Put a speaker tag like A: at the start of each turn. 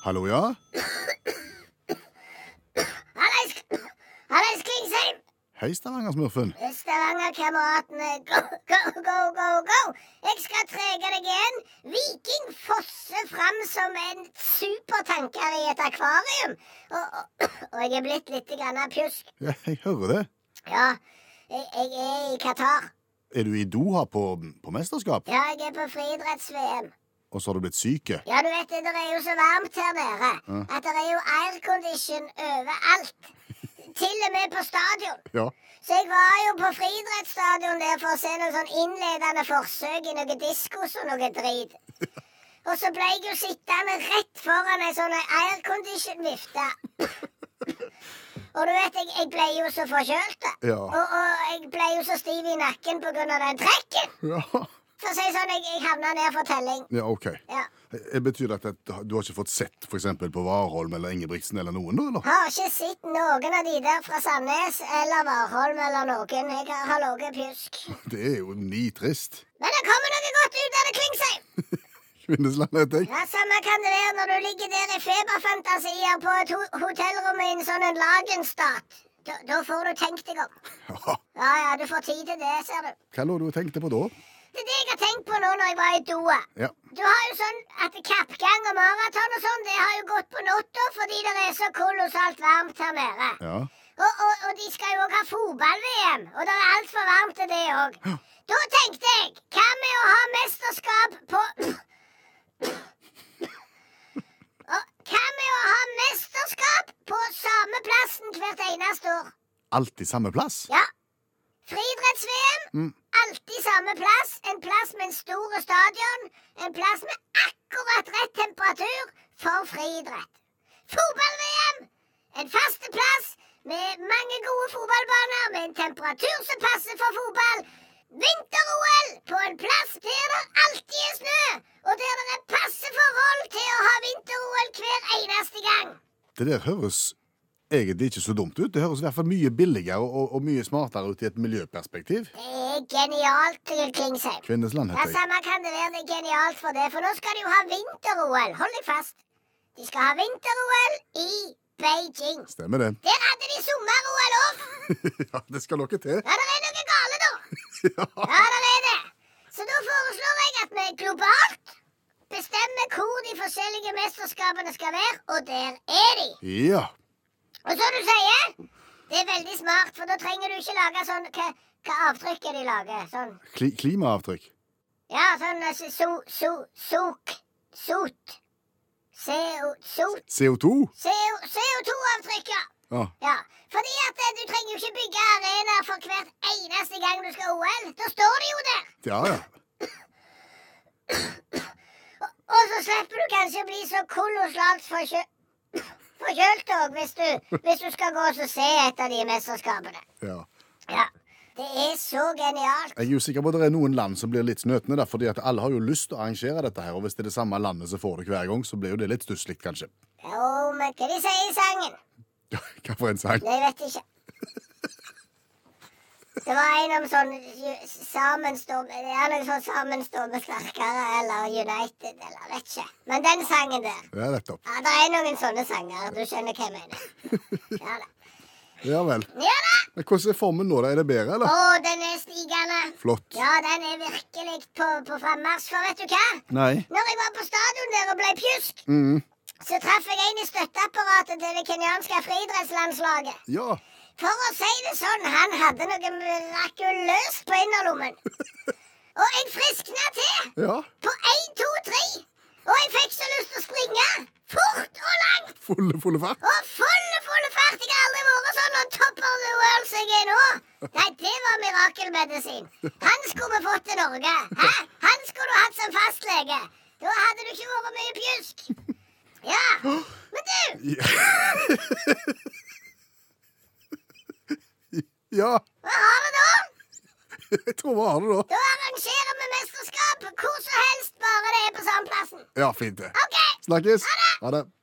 A: Hallo, ja?
B: Hallais, Hallais Klingsheim!
A: Hei, Stavanger-smurfen.
B: Stavanger-kameratene, go, go, go, go, go! Jeg skal trege deg igjen. Viking fosser fram som en supertanker i et akvarium. Og, og, og jeg er blitt litt grann pjusk.
A: Ja, jeg hører det.
B: Ja, jeg, jeg er i Qatar.
A: Er du i Doha på, på mesterskap?
B: Ja, jeg er på friidretts-VM.
A: Og så har du blitt syk?
B: Ja, du vet det, det er jo så varmt her nede at det er jo aircondition overalt. Til og med på stadion.
A: Ja.
B: Så jeg var jo på friidrettsstadion der for å se noen sånn innledende forsøk i noe diskos og noe drit. Og så ble jeg jo sittende rett foran ei sånn aircondition-vifte. Og du vet, jeg, jeg ble jo så forkjølt.
A: Ja.
B: Og, og jeg ble jo så stiv i nakken på grunn av den trekken.
A: Ja,
B: For å si sånn, jeg, jeg havna ned for telling.
A: ja OK.
B: Ja.
A: Eh, Betyr det at du har ikke fått sett for eksempel på Warholm eller Ingebrigtsen eller noen, da? eller?
B: Har ikke sett noen av de der fra Sandnes eller Warholm eller noen. Jeg har- har ligget pjusk.
A: Det er jo nitrist.
B: Men det kommer noe godt ut av det, Klingsheim.
A: Kvinnesland, heter jeg.
B: Ja, Samme kan det være når du ligger der i feberfantasier på et ho hotellrom i en sånn en lagenstat. Da, da får du tenkt deg om.
A: Ja.
B: Ja, ja, du får tid til det, ser du.
A: Hva lå du og tenkte på da?
B: Det er det jeg har tenkt på nå når jeg var i Doha.
A: Ja.
B: Du har jo sånn at kappgang og maraton og sånn, det har jo gått på natta fordi det er så kolossalt varmt her nede.
A: ja.
B: Og, og, og de skal jo òg ha fotball-VM, og det er altfor varmt til det òg. Da tenkte jeg, hva med å ha mesterskap på Og Hva med å ha mesterskap på samme plassen hvert eneste år?
A: Alltid samme plass?
B: Ja. Friidretts-VM,
A: Mm.
B: alltid samme plass. En plass med en stor stadion. En plass med akkurat rett temperatur for friidrett. Fotball-VM, en faste plass med mange gode fotballbaner med en temperatur som passer for fotball. Vinter-OL på en plass der det alltid er snø, og der det er passe forhold til å ha vinter-OL hver eneste gang.
A: Det der høres egentlig ikke så dumt ut. Det høres i hvert fall mye billigere og, og mye smartere ut i et miljøperspektiv.
B: Det er genialt, Klingsheim.
A: Kvinnesland,
B: Ja,
A: heter jeg.
B: Samme kan det være. Det er genialt for det. For nå skal de jo ha vinter-OL. Hold deg fast. De skal ha vinter-OL i Beijing.
A: Stemmer det.
B: Der hadde de sommer-OL òg.
A: ja, det skal noe til.
B: Ja, det er noe gale, da.
A: ja.
B: Ja, det er det. Så da foreslår jeg at vi globalt bestemmer hvor de forskjellige mesterskapene skal være, og der er de.
A: ja.
B: Og så du sier, det er veldig smart, for da trenger du ikke lage sånn Hva, hva avtrykk er det de lager? Sånn
A: Kli klimaavtrykk.
B: Ja, sånn eh, so, so, sok, sot. CO, sot.
A: CO2.
B: CO, CO2-avtrykk, ja.
A: Ja.
B: ja. Fordi at eh, du trenger jo ikke bygge arenaer for hvert eneste gang du skal OL. Da står de jo der.
A: ja, ja.
B: Og så slipper du kanskje å bli så kolossalt forkjø forkjølt òg, hvis, du- hvis du skal gå og se et av de mesterskapene.
A: ja.
B: Ja. Det er så genialt.
A: Jeg er jo sikker på at det er noen land som blir litt snøtne, da, fordi at alle har jo lyst til å arrangere dette her, og hvis det er det samme landet som får det hver gang, så blir jo det litt stusslig, kanskje.
B: Jo, men hva de sier i sangen?
A: Ja, Hva for en sang?
B: Nei, jeg vet ikke. Det var en om sånn ju- sammenstående Det er noe sånn sammenstående sterkere eller United eller vet ikke. Men den sangen der
A: Ja, nettopp.
B: ja, Det er noen sånne sanger. Du skjønner hva jeg mener. Ja da.
A: Ja vel.
B: Ja da!
A: Men hvordan er formen nå, da? Er det bedre,
B: Å,
A: eller?
B: den er stigende.
A: Flott.
B: Ja, den er virkelig på, på frammarsj. For vet du hva?
A: Nei.
B: Når jeg var på stadion der og ble pjusk,
A: Mhm.
B: så traff jeg en i støtteapparatet til det kenyanske friidrettslandslaget.
A: Ja.
B: For å si det sånn, han hadde noe mirakuløst på innerlommen. Og jeg friskna til
A: Ja.
B: på én, to, tre. Og jeg fikk så lyst til å springe. Fort og langt.
A: Fulle, fulle fart.
B: Og fulle, fulle fart. Jeg har aldri vært sånn on top of the world som jeg er nå. Nei, det var mirakelmedisin. Han skulle vi fått til Norge. Hæ? Han skulle du hatt som fastlege. Da hadde du ikke vært mye pjusk. Ja. Men du,
A: Ja.
B: hva har vi nå?
A: Jeg tror vi har det da.
B: Da arrangerer vi mesterskap hvor som helst, bare det er på samme plassen.
A: Ja, fint det.
B: OK!
A: Snakkes. Ha det.